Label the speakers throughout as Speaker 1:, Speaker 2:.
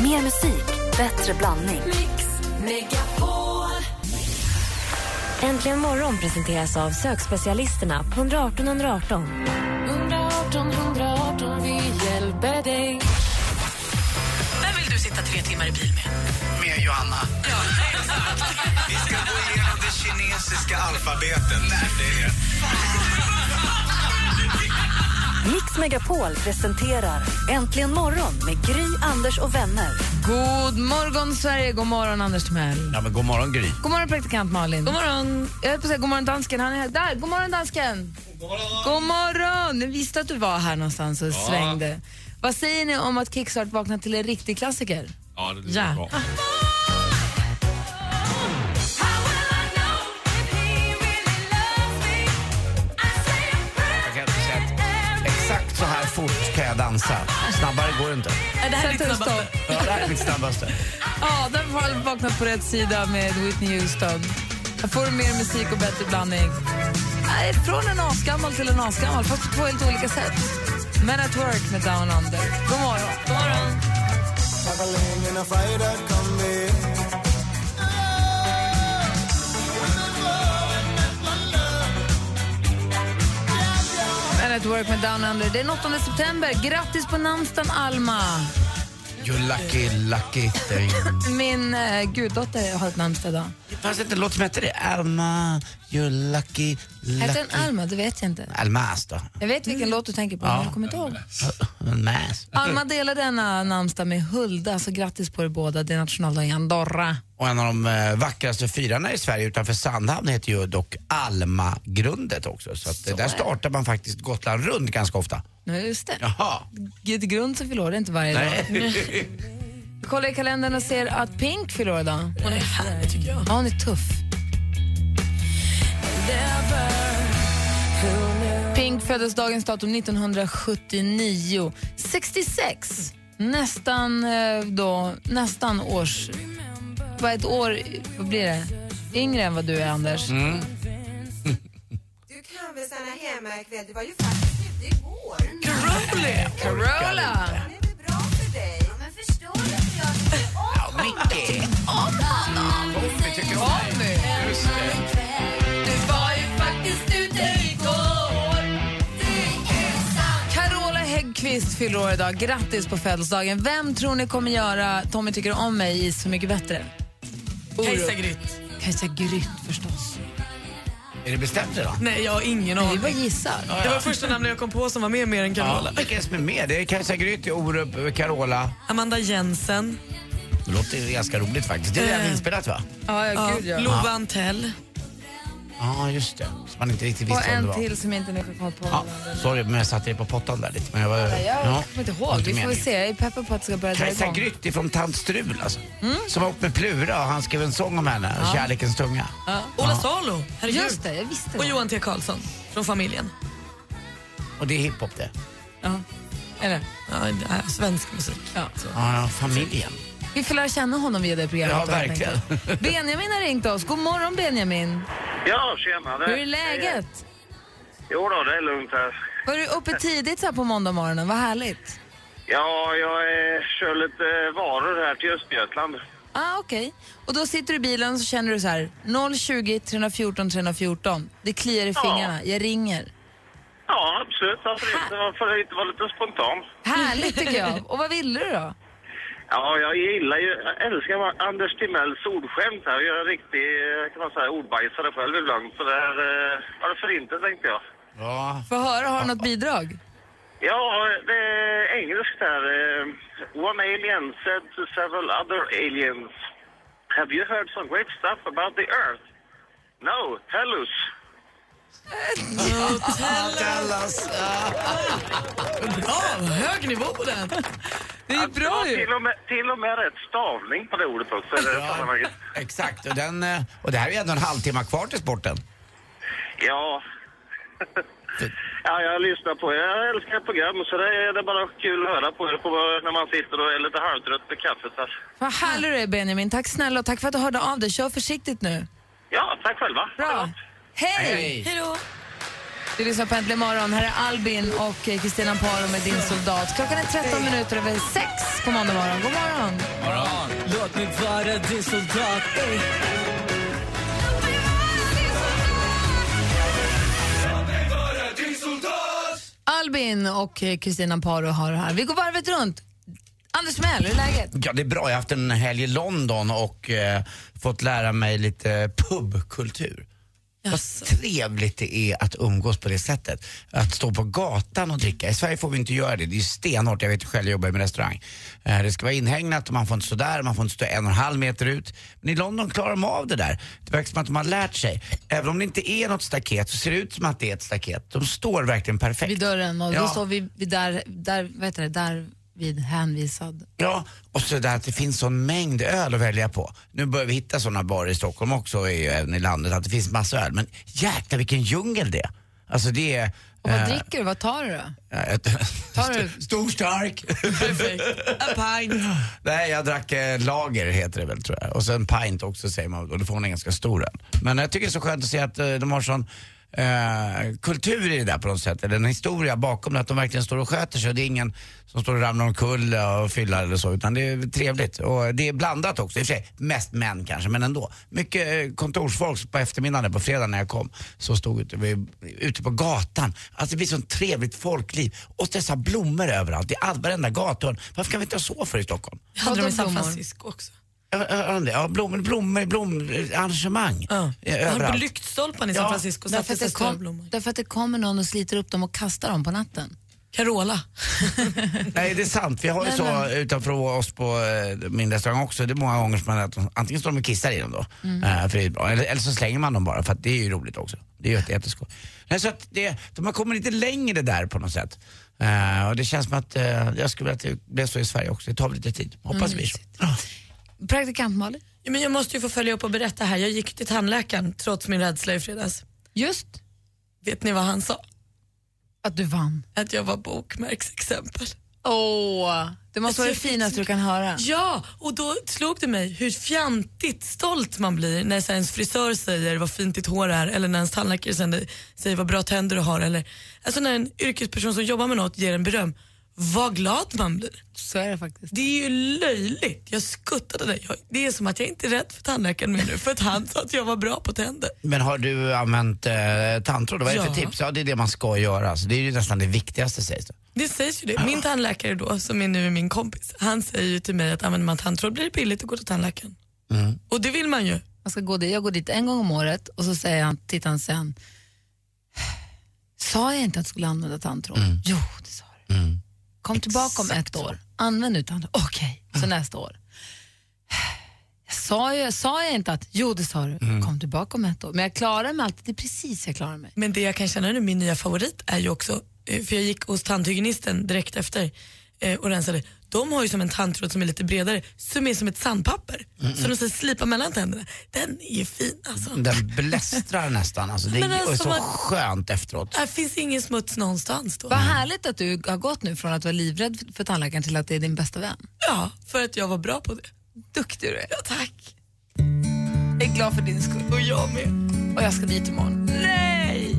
Speaker 1: Mer musik, bättre blandning.
Speaker 2: Mix Megapol.
Speaker 3: Äntligen morgon presenteras av sökspecialisterna på 118 118.
Speaker 2: 118 118, vi hjälper dig.
Speaker 4: Vem vill du sitta tre timmar i bil med?
Speaker 5: med Johanna. Vi ska gå igenom det kinesiska alfabetet. Nej, det är det.
Speaker 1: Mix Megapol presenterar Äntligen morgon med Gry, Anders och vänner.
Speaker 6: God morgon, Sverige. God morgon, Anders Timell.
Speaker 7: Ja, men god morgon, Gry.
Speaker 6: God morgon, praktikant Malin.
Speaker 3: God morgon!
Speaker 6: Jag höll på att säga god morgon, dansken. Han är här. Där! God morgon, dansken. God morgon! Jag visste att du var här någonstans och svängde. Vad säger ni om att Kickstart vaknar till en riktig klassiker?
Speaker 8: Ja, det
Speaker 6: Ja.
Speaker 8: låter bra.
Speaker 7: Jag kan inte säga att exakt så här fort kan jag dansa. Snabbare går det inte.
Speaker 3: Det här
Speaker 6: Sätt
Speaker 3: är ditt
Speaker 6: dig och
Speaker 3: snabbaste.
Speaker 6: stopp.
Speaker 7: Ja, det här är mitt snabbaste.
Speaker 6: Adam har vaknat på rätt sida med Whitney Houston. Här får du mer musik och bättre blandning. Nej, Från en asgammal till en asgammal, fast på två helt olika sätt. Men at work med Down Under. God morgon. God morgon. Men at work med Down Under. Det är den 8 september. Grattis på namnsdagen, Alma.
Speaker 7: You lucky, lucky thing.
Speaker 6: Min eh, guddotter har ett namnsdag idag.
Speaker 7: Det fanns inte en låt som hette det. Alma, you lucky, lucky...
Speaker 6: Hette den Alma? Det vet jag inte.
Speaker 7: Almas då?
Speaker 6: Jag vet vilken låt du tänker på, men jag kommer inte ihåg.
Speaker 7: Almas.
Speaker 6: Alma delar denna namnsdag med Hulda, så grattis på er båda. Det är nationaldagen i Andorra.
Speaker 7: Och en av de eh, vackraste fyrarna i Sverige utanför Sandhamn heter ju dock Almagrundet också. Så, att, eh, där startar man faktiskt Gotland runt ganska ofta.
Speaker 6: Ja, just det.
Speaker 7: Jaha.
Speaker 6: Gud Grund som fyller år, det är inte varje dag. Kollar i kalendern och ser att Pink fyller år idag.
Speaker 3: Hon är härlig, tycker jag.
Speaker 6: Ja, hon är tuff. Pink föddes dagens datum 1979. 66. Nästan eh, då, nästan års... Vad ett år, vad blir det? Yngre än vad du är, Anders.
Speaker 3: Mm.
Speaker 9: Du kan väl stanna hemma ikväll? Du var ju faktiskt ute igår.
Speaker 6: Carola!
Speaker 9: Det är väl bra för dig? Ja, men förstår du att jag
Speaker 7: Ja, Micke. Tommy tycker om
Speaker 6: Tommy! Du var ju faktiskt ute igår. Carola Häggkvist fyller år idag. Grattis på födelsedagen. Vem tror ni kommer göra Tommy tycker om mig i Så mycket bättre?
Speaker 3: Kajsa Grytt.
Speaker 6: Kajsa Grytt förstås.
Speaker 7: Är det bestämt idag?
Speaker 3: Nej, jag har ingen
Speaker 6: Vi
Speaker 3: aning.
Speaker 6: bara gissar.
Speaker 3: Det var första namnet jag kom på som var med mer än
Speaker 7: Ja,
Speaker 3: Carola.
Speaker 7: vilka är det som är med? Det är Kajsa Grytt, det är Orup, eh, Carola.
Speaker 3: Amanda Jensen,
Speaker 7: Det låter ju ganska roligt faktiskt. Det är redan
Speaker 3: Eh.
Speaker 7: inspelat va?
Speaker 6: Ja, ja,
Speaker 3: ja,
Speaker 6: gud, ja.
Speaker 3: Lova Antell.
Speaker 7: Ja, just det. Som man inte riktigt
Speaker 6: Och
Speaker 7: visste vem
Speaker 6: en
Speaker 7: det var.
Speaker 6: till som jag inte nu kan komma på.
Speaker 7: Ja, sorry men jag satte dig på pottan där lite. Men jag var...
Speaker 6: Jag kommer inte ihåg. Vi får väl
Speaker 7: meningen.
Speaker 6: se. Jag är peppad på att det ska börja dra
Speaker 7: Kajsa
Speaker 6: igång.
Speaker 7: Grytt ifrån Tant Strul alltså.
Speaker 6: Mm.
Speaker 7: Som var upp med Plura och han skrev en sång om henne, Kärlekens tunga.
Speaker 3: Ja. Ola Salo, herregud.
Speaker 6: Just det, jag visste
Speaker 3: Och
Speaker 6: det.
Speaker 3: Johan T Karlsson från familjen.
Speaker 7: Och det är hiphop det.
Speaker 6: Ja. Eller?
Speaker 3: Ja, det är svensk musik.
Speaker 6: Ja.
Speaker 7: Ja, ja, familjen.
Speaker 6: Vi får lära känna honom via det programmet.
Speaker 7: Ja,
Speaker 6: då, helt
Speaker 7: verkligen.
Speaker 6: enkelt. Benjamin har ringt oss. God morgon, Benjamin.
Speaker 10: Ja, tjenare.
Speaker 6: Hur är läget?
Speaker 10: Jo då, det är lugnt här.
Speaker 6: Var du uppe tidigt så här på måndag morgonen? Vad härligt.
Speaker 10: Ja, jag eh, kör lite varor här till Östergötland.
Speaker 6: Ah, Okej. Och då sitter du i bilen och så känner du så här 020 314 314. Det kliar i
Speaker 10: Ja.
Speaker 6: fingrarna. Jag ringer.
Speaker 10: Ja, absolut. Varför inte, varför inte vara lite spontan?
Speaker 6: Härligt tycker jag. Och vad ville du då?
Speaker 10: Ja, jag gillar ju, jag älskar Anders Timells ordskämt här. Jag är en riktig, eh, kan man säga, ordbajsare själv ibland. Så det här, eh, varför inte, tänkte jag.
Speaker 7: Ja.
Speaker 6: Få höra, har du något bidrag?
Speaker 10: Ja, det är engelskt här. eh, One alien said to several other aliens. Have you heard some great stuff about the earth? No, tell us.
Speaker 3: Bra, hög nivå på den.
Speaker 6: Det är ju bra
Speaker 10: Ja,
Speaker 6: ju.
Speaker 10: Alltså, Till och, med, till och med rätt stavning på det ordet också i det här sammanhanget.
Speaker 7: Exakt, och, den, eh, och det här är ju ändå en halvtimme kvar till sporten.
Speaker 10: Ja. Ja, jag lyssnar på er. Jag älskar ert program, så det är, det är bara kul att höra på er på, när man sitter och är lite halvtrött med kaffet. Här.
Speaker 6: Vad härlig du är Benjamin. Tack snälla och tack för att du hörde av dig. Kör försiktigt nu.
Speaker 10: Ja, tack själva.
Speaker 6: Bra. Hej!
Speaker 3: Hej då.
Speaker 6: Du lyssnar på Äntligen morgon. Här är Albin och eh, Kristina Paro med Din soldat. Klockan är 13 minuter över 6 på måndag morgon. God morgon!
Speaker 8: Låt mig vara din soldat ey.
Speaker 6: Albin och eh, Kristina Paro har det här. Vi går varvet runt. Anders Mell, hur är läget?
Speaker 7: Ja, det är bra. Jag har haft en helg i London och eh, fått lära mig lite pubkultur. Vad trevligt det är att umgås på det sättet. Att stå på gatan och dricka. I Sverige får vi inte göra det. Det är stenhårt. Jag vet ju själv, jag jobbar i en restaurang. Eh, Det ska vara inhägnat och man får inte stå där, man får inte stå en och en halv meter ut. Men i London klarar de av det där. Det verkar som att de har lärt sig. Även om det inte är något staket så ser det ut som att det är ett staket. De står verkligen perfekt.
Speaker 6: Vid dörren och då
Speaker 7: Ja.
Speaker 6: står vi vid där, där, vad heter det, där vid hänvisad.
Speaker 7: Ja, och så där att det finns sån mängd öl att välja på. Nu börjar vi hitta såna barer i Stockholm också, och i- även i landet, att det finns massa öl. Men jäklar vilken djungel det är. Alltså det är...
Speaker 6: Och vad
Speaker 7: eh,
Speaker 6: dricker du? Vad tar du då?
Speaker 7: ja, ett-
Speaker 6: Tar du?
Speaker 7: Stor stark.
Speaker 3: A pint.
Speaker 7: Nej, jag drack eh, lager heter det väl tror jag. Och sen pint också säger man, och då får man en ganska stor öl. Men jag tycker det är så skönt att se att eh, de har sån eh, kultur i det där på något sätt, eller en historia bakom det, att de verkligen står och sköter sig. Det är ingen som står och ramlar omkull och fyller eller så, utan det är trevligt. Och det är blandat också, i och för sig mest män kanske, men ändå. Mycket eh, kontorsfolk på eftermiddagen, där, på fredagen när jag kom, så stod ute, vi- ute på gatan. Alltså det blir sånt trevligt folkliv. Och dessa blommor överallt, i all, varenda gathörn. Varför kan vi inte ha så för i Stockholm?
Speaker 3: Hade de i San
Speaker 6: blommor?
Speaker 3: Francisco också.
Speaker 7: Ja, ja, ja, Ja, blommor, blommor, blommor, arrangemang.
Speaker 3: Ja.
Speaker 7: Ja,
Speaker 3: På
Speaker 7: Överallt.
Speaker 3: lyktstolparna i San
Speaker 7: Ja,
Speaker 3: Francisco
Speaker 6: Därför
Speaker 3: sattes
Speaker 6: att,
Speaker 3: det
Speaker 6: det
Speaker 3: stora
Speaker 6: kom,
Speaker 3: blommor.
Speaker 6: därför att det kommer någon och sliter upp dem och kastar dem på natten.
Speaker 3: Carola.
Speaker 7: Nej, det är sant. Vi har ju
Speaker 6: Nej,
Speaker 7: så
Speaker 6: men-
Speaker 7: utanför oss på eh, min restaurang också. Det är många gånger som man äter. Antingen står de och kissar i dem då,
Speaker 3: Mm.
Speaker 7: eh, för det är bra. Eller, eller så slänger man dem bara för att det är ju roligt också. Det är ju jätte- jätteskoj. Nej, så att det, de har kommit lite längre där på något sätt. Eh, och det känns som att eh, jag skulle vilja att det blev så i Sverige också. Det tar väl lite tid. Hoppas
Speaker 3: Mm.
Speaker 7: vi så. Ja.
Speaker 6: Praktikant Malin?
Speaker 3: Ja, men jag måste ju få följa upp och berätta här. Jag gick till tandläkaren trots min rädsla i fredags.
Speaker 6: Just
Speaker 3: Vet ni vad han sa?
Speaker 6: att du vann.
Speaker 3: Att jag var bokmärksexempel.
Speaker 6: Åh, det måste vara det
Speaker 3: Jag fick-
Speaker 6: finaste du kan höra.
Speaker 3: Ja, och då slog det mig hur fjantigt stolt man blir när så här ens frisör säger vad fint ditt hår är eller när ens tandläkare sen säger vad bra tänder du har. Eller, alltså när en yrkesperson som jobbar med något ger en beröm. Vad glad man blir.
Speaker 6: Så är det faktiskt.
Speaker 3: Det är ju löjligt. Jag skuttade det. Jag, det är som att jag inte är rädd för tandläkaren mer nu för att han sa att jag var bra på tänder.
Speaker 7: Men har du använt eh, tandtråd? Vad är det för
Speaker 3: Ja.
Speaker 7: tips? Ja, det är det man ska göra. Så det är ju nästan det viktigaste sägs det.
Speaker 3: Det sägs ju det. Min tandläkare då, som är nu min kompis, han säger ju till mig att använder man tandtråd blir det billigt att gå till tandläkaren.
Speaker 7: Mm.
Speaker 3: Och det vill man ju.
Speaker 6: Jag, ska gå dit. jag går dit en gång om året och så säger han, tittar han sen. Sa jag inte att du skulle använda tandtråd? Jo, det sa du. Kom tillbaka om ett år. Använd nu tandtråd. Okej, så nästa år. Sa jag, sa jag inte att, jo det sa du. Kom tillbaka om ett år. Men jag klarar mig alltid, det är precis jag klarar mig.
Speaker 3: Men det jag kan känna nu, min nya favorit är ju också, eh, för jag gick hos tandhygienisten direkt efter eh, och rensade. De har ju som en tandtråd som är lite bredare, som är som ett sandpapper. Så de säger slipa mellan tänderna. Den är ju fin alltså.
Speaker 7: Den blästrar nästan. Alltså, det
Speaker 3: Men
Speaker 7: är och är
Speaker 3: alltså,
Speaker 7: så
Speaker 3: vad-
Speaker 7: skönt efteråt.
Speaker 3: Här finns ingen smuts någonstans då.
Speaker 6: Vad härligt att du har gått nu från att vara livrädd för- för tandläkaren till att det är din bästa vän.
Speaker 3: Ja, för att jag var bra på det.
Speaker 6: Duktig du är.
Speaker 3: Ja, tack.
Speaker 6: Jag är glad för din skull.
Speaker 3: Och jag med.
Speaker 6: Och jag ska dit imorgon.
Speaker 3: Nej!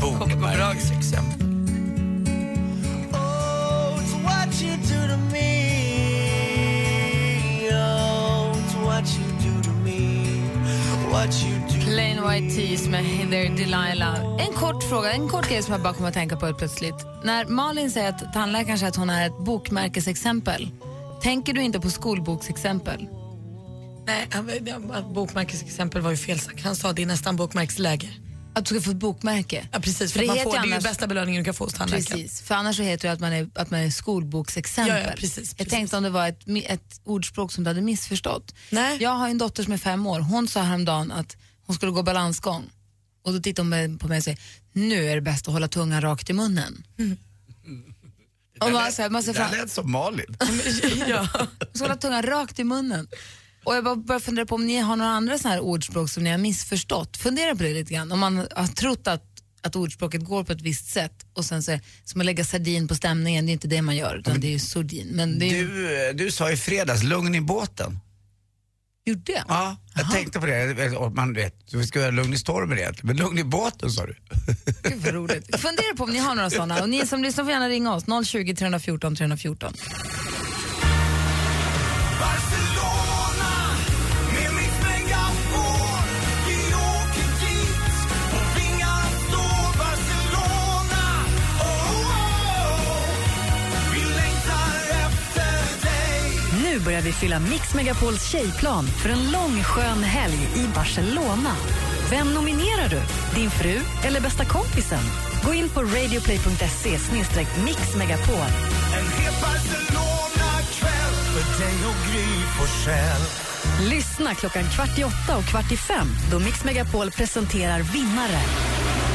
Speaker 7: Bokmärkesexempel.
Speaker 8: Oh, it's what you do to me Oh, it's what you do to me What you do
Speaker 6: Plain White Tees med Heather Delilah. En kort fråga, en kort grej som jag bara kommer att tänka på helt plötsligt. När Malin säger att tandläkaren säger att hon är ett bokmärkesexempel, tänker du inte på skolboksexempel?
Speaker 3: Nej, han, han- han- bokmärkesexempel var ju fel sagt. Han sa det är nästan bokmärkesläge.
Speaker 6: Att du ska få ett bokmärke?
Speaker 3: Ja, precis.
Speaker 6: För
Speaker 3: För
Speaker 6: det
Speaker 3: man
Speaker 6: heter
Speaker 3: får, det är ju
Speaker 6: annars-
Speaker 3: bästa belöningen du kan få hos tandläkaren.
Speaker 6: Precis, för annars så heter det att man är, att man är skolboksexempel.
Speaker 3: Ja, ja, precis,
Speaker 6: Jag
Speaker 3: precis.
Speaker 6: tänkte om det var ett, mi- ett ordspråk som du hade missförstått.
Speaker 3: Nej.
Speaker 6: Jag har en dotter som är fem år. Hon sa häromdagen att hon skulle gå balansgång. Och då tittade hon på mig och sa, nu är det bäst att hålla tungan rakt i munnen.
Speaker 3: Mm.
Speaker 6: Och man, så här, man, ser
Speaker 7: Det
Speaker 6: fram,
Speaker 7: där lät som Malin.
Speaker 3: ja.
Speaker 6: man ska hålla tungan rakt i munnen. Och jag bara började fundera på om ni har några andra sådana här ordspråk som ni har missförstått. Fundera på det lite grann. Om man har trott att, att ordspråket går på ett visst sätt och sen så är som att lägga sardin på stämningen, det är inte det man gör utan det är ju sordin. Men det är ju,
Speaker 7: Du, eh, du sa i fredags, lugn i båten.
Speaker 6: Gjorde jag?
Speaker 7: Ja, jag tänkte på det. Eh, Och Man vet, vi ska vara lugn i stormen egentligen, men lugn i båten sa du.
Speaker 6: Gud vad roligt. Fundera på om ni har några sådana. Och ni som lyssnar får gärna ringa oss. 020 314 314.
Speaker 8: oh,
Speaker 1: Nu börjar vi fylla Mix Megapols tjejplan för en lång skön helg i Barcelona. Vem nominerar du? Din fru eller bästa kompisen? Gå in på radioplay.se mixmegapol. Lyssna klockan kvart i åtta och kvart i fem då Mix Megapol presenterar vinnare.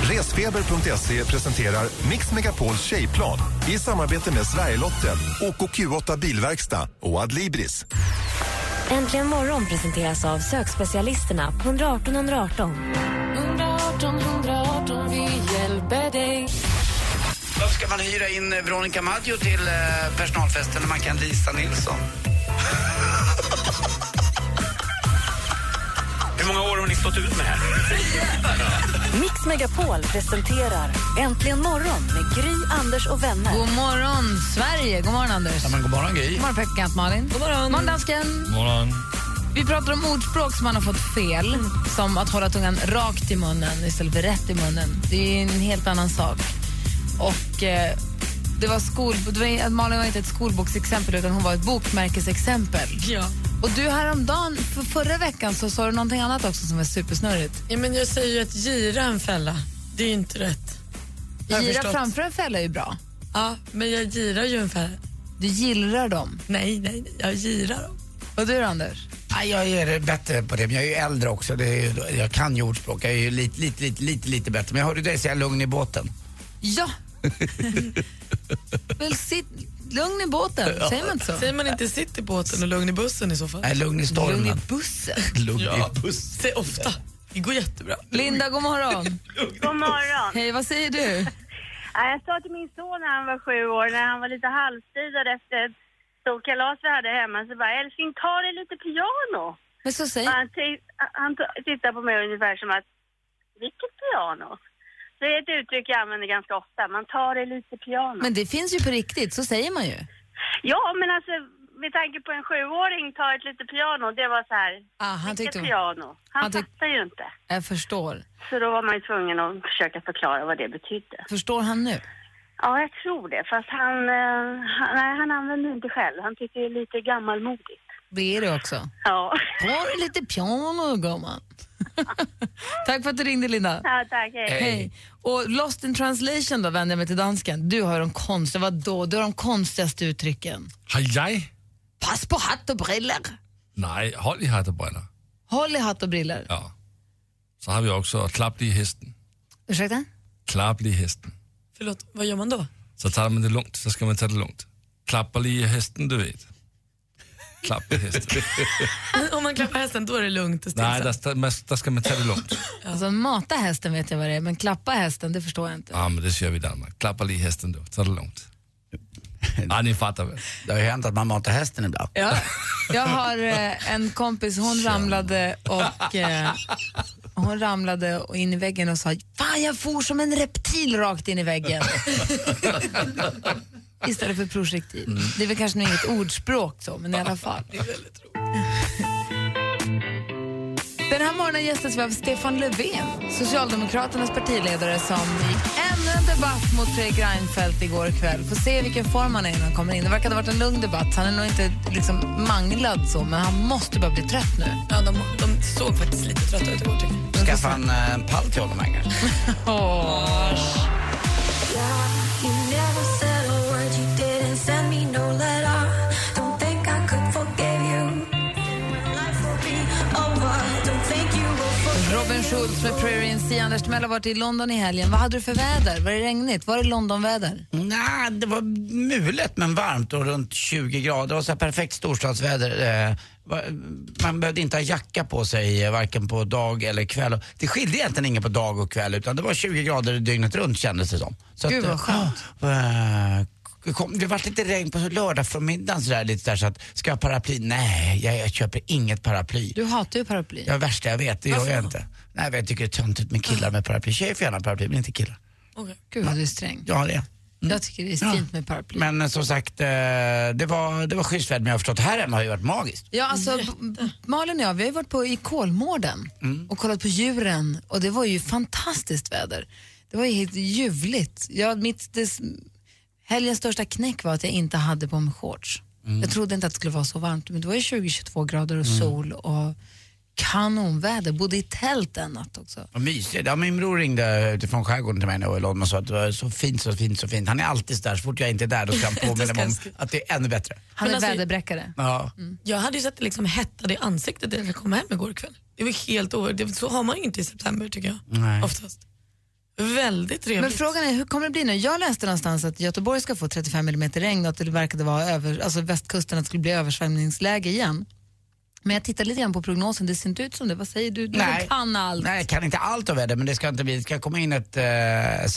Speaker 11: Resfeber.se presenterar Mix Megapols tjejplan i samarbete med Sverigelotten, OKQ8 Bilverkstad och Adlibris.
Speaker 12: Äntligen morgon presenteras av sökspecialisterna på 118 118.
Speaker 2: 118 118, vi hjälper dig.
Speaker 7: Varför ska man hyra in eh, Veronica Maggio till eh, personalfesten när man kan Lisa Nilsson?
Speaker 5: Hur många år har ni stått ut med här?
Speaker 1: Mix Megapol presenterar Äntligen morgon med Gry, Anders och vänner.
Speaker 6: God morgon, Sverige. God morgon, Anders.
Speaker 7: Ja, men god morgon, Gry.
Speaker 6: God morgon, praktikant Malin. God morgon. morgon, dansken.
Speaker 13: Morgon.
Speaker 6: Vi pratar om ordspråk som man har fått fel, som att hålla tungan rakt i munnen istället för rätt i munnen. Det är ju en helt annan sak. Och eh, det var skol... Det var, Malin var inte ett skolboksexempel utan hon var ett bokmärkesexempel.
Speaker 3: Ja.
Speaker 6: Och du häromdagen, för förra veckan, så sa du någonting annat också som var supersnurrigt.
Speaker 3: Ja, men jag säger ju att gira en fälla. Det är ju inte rätt. Har jag
Speaker 6: Gira
Speaker 3: förstått.
Speaker 6: framför en fälla är ju bra.
Speaker 3: Ja, men jag girar ju en fälla.
Speaker 6: Du gillrar dem?
Speaker 3: Nej, nej, nej, jag girar dem.
Speaker 6: Och du då, Anders?
Speaker 7: Nej, jag är bättre på det, men jag är ju äldre också. Det är ju, jag kan ju ordspråk. Jag är ju lite, lite, lite, lite, lite bättre. Men jag hörde dig säga lugn i båten.
Speaker 6: Ja! Väl sitt lugn i båten,
Speaker 3: Ja.
Speaker 6: säger man inte så?
Speaker 3: Säger man inte sitt i båten och lugn i bussen i så fall?
Speaker 7: Nej, lugn i stormen.
Speaker 6: Lugn i bussen.
Speaker 7: Lugn
Speaker 3: Ja.
Speaker 7: i bussen.
Speaker 3: Det är ofta. Det går jättebra.
Speaker 6: Linda, god morgon.
Speaker 14: God morgon.
Speaker 6: Hej, vad säger du?
Speaker 14: Ja, Jag sa till min son när han var sju år, när han var lite halvstigad efter ett stort kalas vi hade hemma, så bara älskling ta dig lite piano.
Speaker 6: Men så säg.
Speaker 14: Han, t- han t- tittade på mig ungefär som att, vilket piano? Det är ett uttryck jag använder ganska ofta, man tar dig lite piano.
Speaker 6: Men det finns ju på riktigt, så säger man ju.
Speaker 14: Ja, men alltså med tanke på en sjuåring ta ett litet piano, det var så här,
Speaker 6: ah, han
Speaker 14: vilket
Speaker 6: tyckte-
Speaker 14: piano? Han,
Speaker 6: han tyck-
Speaker 14: fattar ju inte.
Speaker 6: Jag förstår.
Speaker 14: Så då var man ju tvungen att försöka förklara vad det betydde.
Speaker 6: Förstår han nu?
Speaker 14: Ja, jag tror det. Fast han, eh, han, nej, han använder inte själv. Han tycker det är lite gammalmodigt.
Speaker 6: Det är det också.
Speaker 14: Ja.
Speaker 6: Ta det lite piano, gumman. Tack för att du ringde, Linda.
Speaker 14: Ja, tack. Hej.
Speaker 6: Hej. Och Lost in translation då, vänder jag mig till dansken. Du har de konstiga, vadå, du har de konstigaste uttrycken.
Speaker 13: Har jag?
Speaker 6: Pass på hatt och briller.
Speaker 13: Nej, håll i hatt och briller.
Speaker 6: Håll i hatt och briller.
Speaker 13: Ja. Så har vi också klapp dig i hästen.
Speaker 6: Ursäkta?
Speaker 13: Klapp dig i hästen.
Speaker 3: Förlåt, vad gör man då?
Speaker 13: Så tar man det lugnt, så ska man ta det lugnt. Klappa dig i hästen, du vet. Klappa i hästen.
Speaker 3: Om man klappar hästen då är det lugnt och
Speaker 13: Nej,
Speaker 3: stillsamt.
Speaker 13: där, ska- men där ska man ta det lugnt.
Speaker 6: Alltså mata hästen vet jag vad det är, men klappa hästen det förstår jag inte.
Speaker 13: Ja, Ah, men det kör vi i Danmark. Klappa dig i hästen då, ta det Ah, lugnt. Ja, ni fattar väl?
Speaker 7: Det har ju hänt att man matar hästen ibland.
Speaker 6: Ja. Jag har eh, en kompis, hon ramlade och eh, hon ramlade och in i väggen och sa Fan jag for som en reptil rakt in i väggen. Istället för projektil. Det är väl kanske nog inget ordspråk så, men i alla fall. Den här morgonen gästas vi av Stefan Löfven, Socialdemokraternas partiledare som gick ännu en debatt mot Fredrik Reinfeldt igår kväll. Får se vilken form han är innan han kommer in. Det verkar ha varit en lugn debatt. Han är nog inte liksom manglad så, men han måste bara bli trött nu.
Speaker 3: Ja, de, de såg faktiskt lite trötta ut igår tycker jag.
Speaker 7: Skaffa en, eh, en pall till honom här kanske.
Speaker 6: Robin Schultz med Prairie in Sea. Anders Timell har varit i London i helgen. Vad hade du för väder? Var det regnigt? Var det Londonväder?
Speaker 7: Nej, det var mulet men varmt och runt 20 grader. Det var så här perfekt storstadsväder. Eh, va- Man behövde inte ha jacka på sig eh, varken på dag eller kväll. Och Det skilde egentligen ingen på dag och kväll utan det var 20 grader dygnet runt kändes det som. Så
Speaker 6: Gud, vad skönt.
Speaker 7: eh, det kom, det var lite regn på lördag förmiddagen sådär lite där så att, ska jag ha paraply? Nej, jag, jag köper inget paraply.
Speaker 6: Du hatar ju paraply.
Speaker 7: Det är det värsta jag vet, det gör jag inte. Nej, men jag tycker det är töntigt med killar med paraply. Tjejer får gärna ha paraply, men inte killar.
Speaker 6: Gud vad du är sträng.
Speaker 7: Ja, det är.
Speaker 6: Jag tycker det är fint med paraply.
Speaker 7: Men eh, som sagt, eh, det var, det var schysst väder, men jag har förstått här hemma har ju varit magiskt.
Speaker 6: Ja, alltså, b- Malin och jag vi har ju varit på, i Kolmården och kollat på djuren och det var ju fantastiskt väder. Det var ju helt ljuvligt. Jag, mitt, det, helgens största knäck var att jag inte hade på mig shorts.
Speaker 15: Mm.
Speaker 6: Jag trodde inte att det skulle vara så varmt, men det var ju 20-22 grader och sol och kanonväder. Bodde i tält en natt också.
Speaker 7: Vad mysigt. Ja, min bror ringde utifrån skärgården till mig när jag var i London och sa att det var så fint, så fint, så fint. Han är alltid där, så fort jag inte är där då ska han påminna mig om att det är ännu bättre.
Speaker 6: Han är
Speaker 3: Men alltså-
Speaker 6: väderbräckare.
Speaker 7: Ja.
Speaker 6: Mm.
Speaker 3: Jag hade ju sett det liksom hettade i ansiktet när jag kom hem igår kväll. Det var helt overkligt. Så har man ju inte i september tycker jag.
Speaker 7: Nej.
Speaker 3: Oftast. Väldigt
Speaker 6: Men
Speaker 3: trevligt.
Speaker 6: frågan är hur kommer det bli nu? Jag läste någonstans att Göteborg ska få 35 mm regn och att det verkade vara över, alltså västkusten att det skulle bli översvämningsläge igen. Men jag tittar lite grann på prognosen, det ser inte ut som det. Vad säger du? Du
Speaker 7: Nej.
Speaker 6: som kan allt.
Speaker 7: Nej, jag kan inte allt av väder, men det ska inte bli. Det ska komma in ett eh,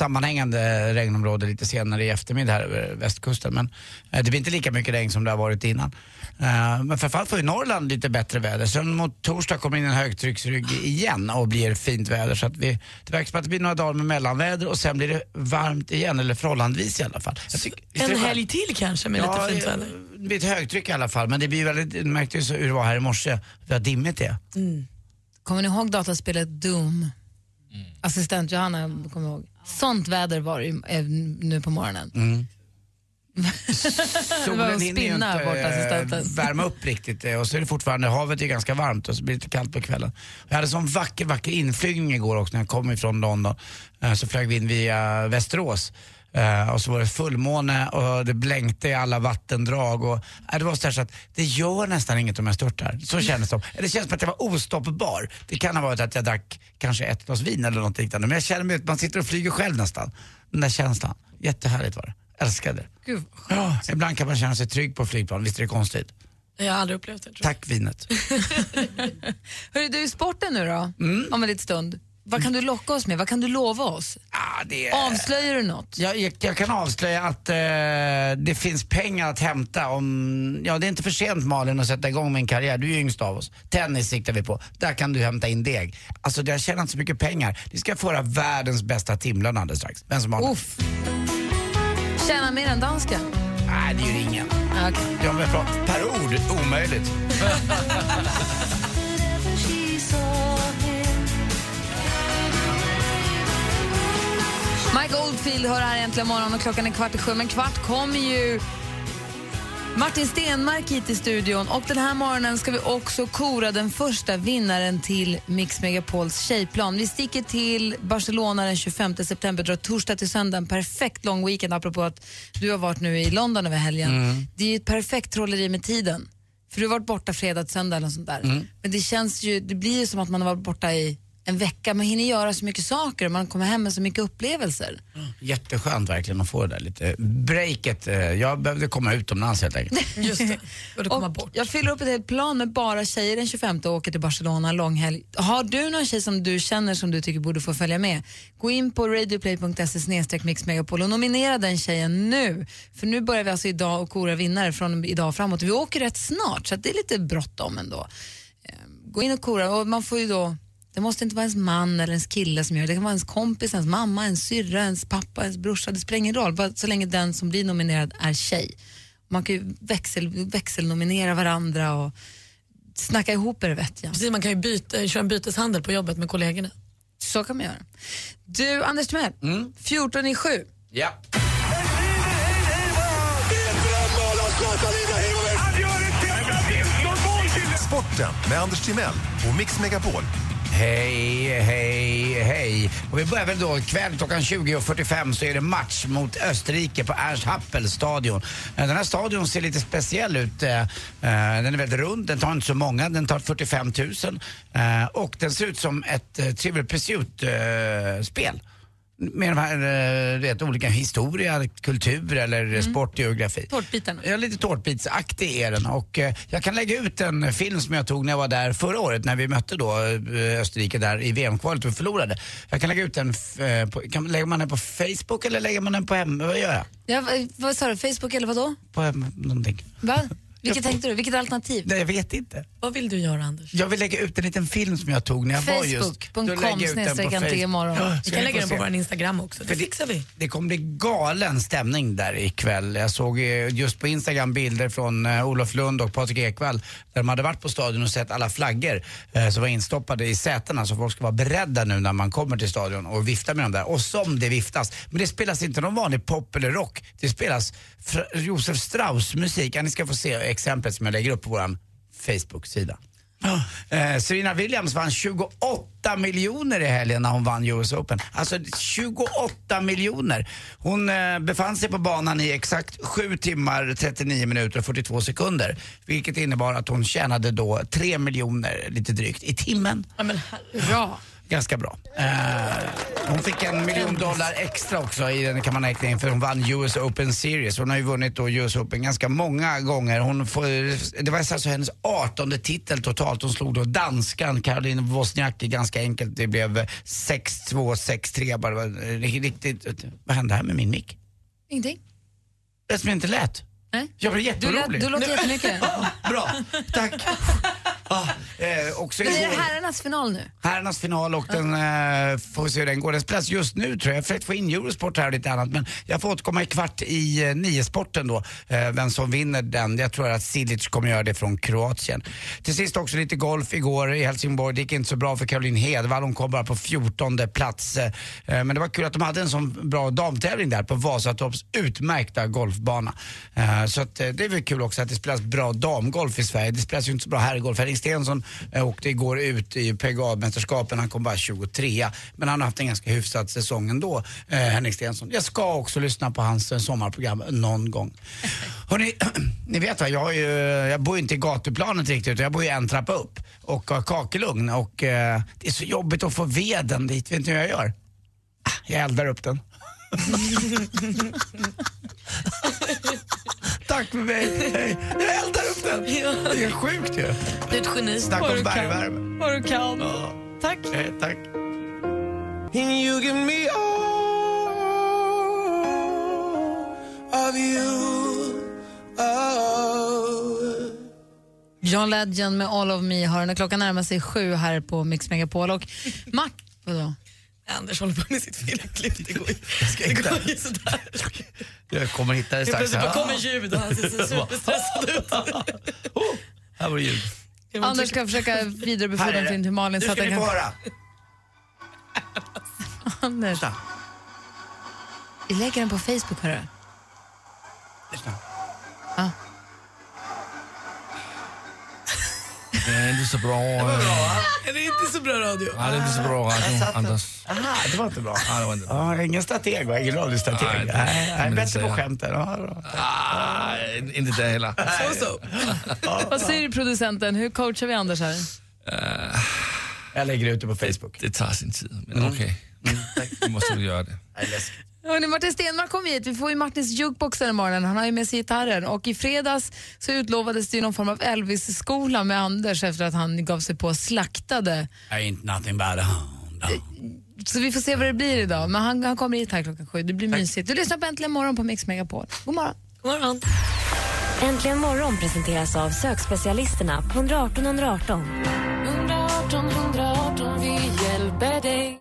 Speaker 7: sammanhängande regnområde lite senare i eftermiddag här över västkusten. Men eh, det blir inte lika mycket regn som det har varit innan. Eh, men framförallt får ju Norrland lite bättre väder. Sen mot torsdag kommer in en högtrycksrygg igen och blir fint väder. Så att vi, det verkar som att det blir några dagar med mellanväder och sen blir det varmt igen, eller förhållandevis i alla fall. Jag tycker- visst är det
Speaker 3: En
Speaker 7: skönt?
Speaker 3: helg till kanske med
Speaker 7: Ja,
Speaker 3: lite fint väder.
Speaker 7: Det blir ett högtryck i alla fall, men det blir ju väldigt, du märkte ju så hur det var här i morse, vad dimmigt det är.
Speaker 6: Kommer ni ihåg dataspelet Doom?
Speaker 3: Mm.
Speaker 6: Assistent Johanna kommer ihåg. Sånt väder var det ju, eh, nu på morgonen.
Speaker 7: Mm.
Speaker 6: det var
Speaker 7: Solen
Speaker 6: att
Speaker 7: hinner ju
Speaker 6: spinna
Speaker 7: inte
Speaker 6: bort
Speaker 7: eh,
Speaker 6: assistenten.
Speaker 7: värma upp riktigt eh, och så är det fortfarande, havet är ganska varmt och så blir det lite kallt på kvällen. Jag hade sån vacker, vacker inflygning igår också när jag kom ifrån London. Eh, Så flög vi in via Västerås. Eh, och så var det fullmåne och det blänkte i alla vattendrag. Och, eh, det var så, här så att det gör nästan inget om jag störtar. Så kändes det. Det känns som att jag var ostoppbar. Det kan ha varit att jag drack kanske ett glas vin eller något liknande. Men jag känner mig, man sitter och flyger själv nästan. Den där känslan. Jättehärligt var det. Älskade det.
Speaker 6: Gud,
Speaker 7: Ja, ibland kan man känna sig trygg på flygplan, visst är det konstigt?
Speaker 3: Jag har aldrig upplevt det.
Speaker 7: Tack vinet.
Speaker 6: Hörru du, sporten nu då? Om en liten stund. Vad kan du locka oss med? Vad kan du lova oss? Avslöjar du något?
Speaker 7: Ah, Jag, jag, jag kan avslöja att eh, det finns pengar att hämta om, ja det är inte för sent Malin att sätta igång min karriär, du är yngst av oss. Tennis siktar vi på, där kan du hämta in deg. Alltså det har tjänat så mycket pengar, vi ska föra världens bästa timlön alldeles strax. Vem som har den?
Speaker 6: Uff. Tjäna mer än dansken?
Speaker 7: Nej, det gör ingen.
Speaker 6: Okay.
Speaker 7: Ja, men bra. Per ord, omöjligt.
Speaker 6: Mike Oldfield hör här äntligen morgon och klockan är kvart i sju. Men kvart kommer ju Martin Stenmark hit i studion och den här morgonen ska vi också kora den första vinnaren till Mix Megapols tjejplan. Vi sticker till Barcelona den 25 september, drar torsdag till söndag. En perfekt lång weekend apropå att du har varit nu i London över helgen.
Speaker 15: Mm.
Speaker 6: Det är ju ett perfekt trolleri med tiden. För du har varit borta fredag till söndag eller något sånt där.
Speaker 15: Mm.
Speaker 6: Men det känns ju, det blir ju som att man har varit borta i en vecka. Man hinner göra så mycket saker och man kommer hem med så mycket upplevelser.
Speaker 7: Jätteskönt verkligen att få det där lite breaket. eh, Jag behövde komma utomlands helt enkelt.
Speaker 6: Just det. Och bort. Jag fyller upp ett helt plan med bara tjejer den 25 och åker till Barcelona en långhelg. Har du någon tjej som du känner som du tycker borde få följa med? Gå in på radioplay.se snedstreck mixmegapol och nominera den tjejen nu. För nu börjar vi alltså idag och kora vinnare från idag framåt. Vi åker rätt snart så att det är lite bråttom ändå. Eh, Gå in och kora och man får ju då det måste inte vara ens man eller ens kille som gör det. Det kan vara ens kompis, ens mamma, ens syrra, ens pappa, ens brorsa. Det spelar ingen roll, bara så länge den som blir nominerad är tjej. Man kan ju växel, växelnominera varandra och snacka ihop er vet jag.
Speaker 3: Precis, man kan ju byta, köra en byteshandel på jobbet med kollegorna.
Speaker 6: Så kan man göra. Du, Anders Timell, 14 i 7.
Speaker 7: Ja.
Speaker 11: Sporten med Anders Timell och Mix Megapol.
Speaker 7: Hej, hej, hej. Och vi börjar väl då ikväll klockan 20.45 så är det match mot Österrike på Ernst Happel stadion. Eh, Den här stadion ser lite speciell ut. Eh, eh, Den är väldigt rund, den tar inte så många, den tar 45 000. Eh, Och den ser ut som ett eh, Trivial Pursuit-spel. med de här eh, rätt olika historia, kultur eller mm. sport, geografi.
Speaker 6: Tårtbitarna.
Speaker 7: Ja, lite tårtbitsaktig är den och eh, jag kan lägga ut en film som jag tog när jag var där förra året när vi mötte då eh, Österrike där i VM-kvalet och förlorade. Jag kan lägga ut den, f- eh, på, kan, lägger man den på Facebook eller lägger man den på hem, vad gör jag?
Speaker 6: Ja, vad- vad sa du, Facebook eller vad då?
Speaker 7: På hem, någonting.
Speaker 6: Va? Vilket tänkte du? Vilket alternativ?
Speaker 7: Nej, jag vet inte.
Speaker 3: Vad vill du göra Anders?
Speaker 7: Jag vill lägga ut en liten film som jag tog när jag var just... Då lägger jag
Speaker 6: Facebook.com
Speaker 7: ut den på
Speaker 6: snedstreck
Speaker 7: Facebook.
Speaker 6: imorgon.
Speaker 7: Ja, så
Speaker 3: Vi kan
Speaker 7: ni
Speaker 3: lägga
Speaker 7: får
Speaker 3: den på
Speaker 7: se.
Speaker 3: vår Instagram också. Det
Speaker 7: För det-
Speaker 3: fixar vi.
Speaker 7: Det kommer bli galen stämning där ikväll. Jag såg eh, just på Instagram bilder från eh, Olof Lund och Patrik Ekwall där de hade varit på stadion och sett alla flaggor eh, som var instoppade i sätena så folk ska vara beredda nu när man kommer till stadion och vifta med dem där. Och som det viftas. Men det spelas inte någon vanlig pop eller rock. Det spelas Fr- Josef Strauss musik. Ja, ni ska få se exemplet som jag lägger upp på vår Facebook-sida. Eh, Serena Williams vann 28 miljoner i helgen när hon vann US Open. Alltså 28 miljoner. Hon eh, befann sig på banan i exakt 7 timmar 39 minuter och 42 sekunder. Vilket innebar att hon tjänade då 3 miljoner lite drygt i timmen.
Speaker 3: Ja, men,
Speaker 6: bra.
Speaker 7: Ganska bra. Eh, hon fick en miljon dollar extra också i den kan man räkna in för hon vann US Open Series. Hon har ju vunnit då US Open ganska många gånger. Hon får, det var alltså hennes 18 titel totalt. Hon slog då danskan Caroline Wozniacki ganska enkelt. Det blev 6-2, 6-3 bara. Det var Riktigt, vad hände här med min mick?
Speaker 6: Ingenting?
Speaker 7: Det som inte lät.
Speaker 6: Nej.
Speaker 7: Jag blev
Speaker 6: Du,
Speaker 7: jätteorolig.
Speaker 6: lät- du låter jättemycket.
Speaker 7: Bra, tack. Ah, eh, också
Speaker 6: Men är det
Speaker 7: igår-
Speaker 6: herrarnas final nu?
Speaker 7: herrarnas final och den, eh, får vi se hur den går. Den spelas just nu tror jag. Jag har försökt få in Eurosport här och lite annat men jag får återkomma i kvart i eh, nio-sporten då, eh, vem som vinner den. Jag tror att Silic kommer göra det från Kroatien. Till sist också lite golf igår i Helsingborg. Det gick inte så bra för Caroline Hedvall. Hon kom bara på 14 plats. Eh, men det var kul att de hade en sån bra damtävling där på Vasatorps utmärkta golfbana. Eh, så att, eh, det är väl kul också att det spelas bra damgolf i Sverige. Det spelas ju inte så bra herrgolf. Henning Stenson eh, åkte igår ut i PGA-mästerskapen. Han kom bara 23 Men han har haft en ganska hyfsad säsong ändå, eh, Henning Stenson. Jag ska också lyssna på hans eh, sommarprogram någon gång. Hörrni, ni vet va, jag, har ju, jag bor ju inte i gatuplanet riktigt utan jag bor ju en trappa upp och har kakelugn och eh, det är så jobbigt att få veden dit. Vet ni hur jag gör? Ah, Jag eldar upp den. Tack för mig. Hej. Jag eldar upp den. Det är sjukt ju.
Speaker 3: Du är ett geni.
Speaker 7: Snacka om bergvärme.
Speaker 6: Vad du kan. Tack.
Speaker 7: Eh, Tack.
Speaker 8: And you give me all of you. Oh.
Speaker 6: John Legend med All of me har när klockan närmar sig sju här på Mix Megapol. Och Mac, vadå?
Speaker 3: Anders håller på med sitt filmklipp. Det går ju, det
Speaker 7: hitta-
Speaker 3: går ju sådär.
Speaker 7: Jag kommer hitta det
Speaker 3: Det
Speaker 7: strax.
Speaker 3: plötsligt bara
Speaker 7: Ah,
Speaker 3: kommer ljud och han ser så superstressad ut.
Speaker 7: Här var det ljud.
Speaker 6: Anders ska försöka
Speaker 7: Här är
Speaker 6: vidarebefordra
Speaker 7: det.
Speaker 6: film till Malin.
Speaker 7: Nu
Speaker 6: så att
Speaker 7: ska
Speaker 6: den
Speaker 7: ni få
Speaker 6: kan-
Speaker 7: höra.
Speaker 6: Anders.
Speaker 7: Lyssna.
Speaker 6: Vi lägger den på Facebook, hörru.
Speaker 7: Lyssna.
Speaker 6: Ja.
Speaker 13: Det är inte så bra. eh,
Speaker 3: Det är inte så bra radio.
Speaker 13: Nej, det är inte så bra radio, Anders.
Speaker 7: Aha, det var inte bra.
Speaker 13: Nej, det var inte bra.
Speaker 7: Ah, ingen strateg va? Ingen radiostrateg?
Speaker 13: Nej,
Speaker 7: Nej,
Speaker 13: det-
Speaker 7: nej,
Speaker 13: men det
Speaker 7: bättre
Speaker 13: säger
Speaker 7: på
Speaker 13: jag.
Speaker 7: skämten. Ah, bra.
Speaker 13: Ah, inte det heller.
Speaker 3: Så, så.
Speaker 6: Vad säger du, producenten? Hur coachar vi Anders här?
Speaker 7: Jag lägger ut det på Facebook.
Speaker 13: Det tar sin tid, men okej. Vi måste väl göra det.
Speaker 7: Nej, läskigt.
Speaker 6: Hörrni, Martin Stenmarck kom hit. Vi får ju Martins jukebox den här morgonen. Han har ju med sig gitarren. Och i fredags så utlovades det ju någon form av Elvis-skola med Anders efter att han gav sig på och slaktade.
Speaker 7: Ain't nothing but a hound.
Speaker 6: Så vi får se vad det blir idag. Men han, han kommer hit här klockan sju. Det blir mysigt. Du lyssnar på Äntligen morgon på Mix Megapol. God morgon.
Speaker 3: God morgon.
Speaker 12: Äntligen morgon presenteras av sökspecialisterna på 118 118.
Speaker 2: 118 118, vi hjälper dig.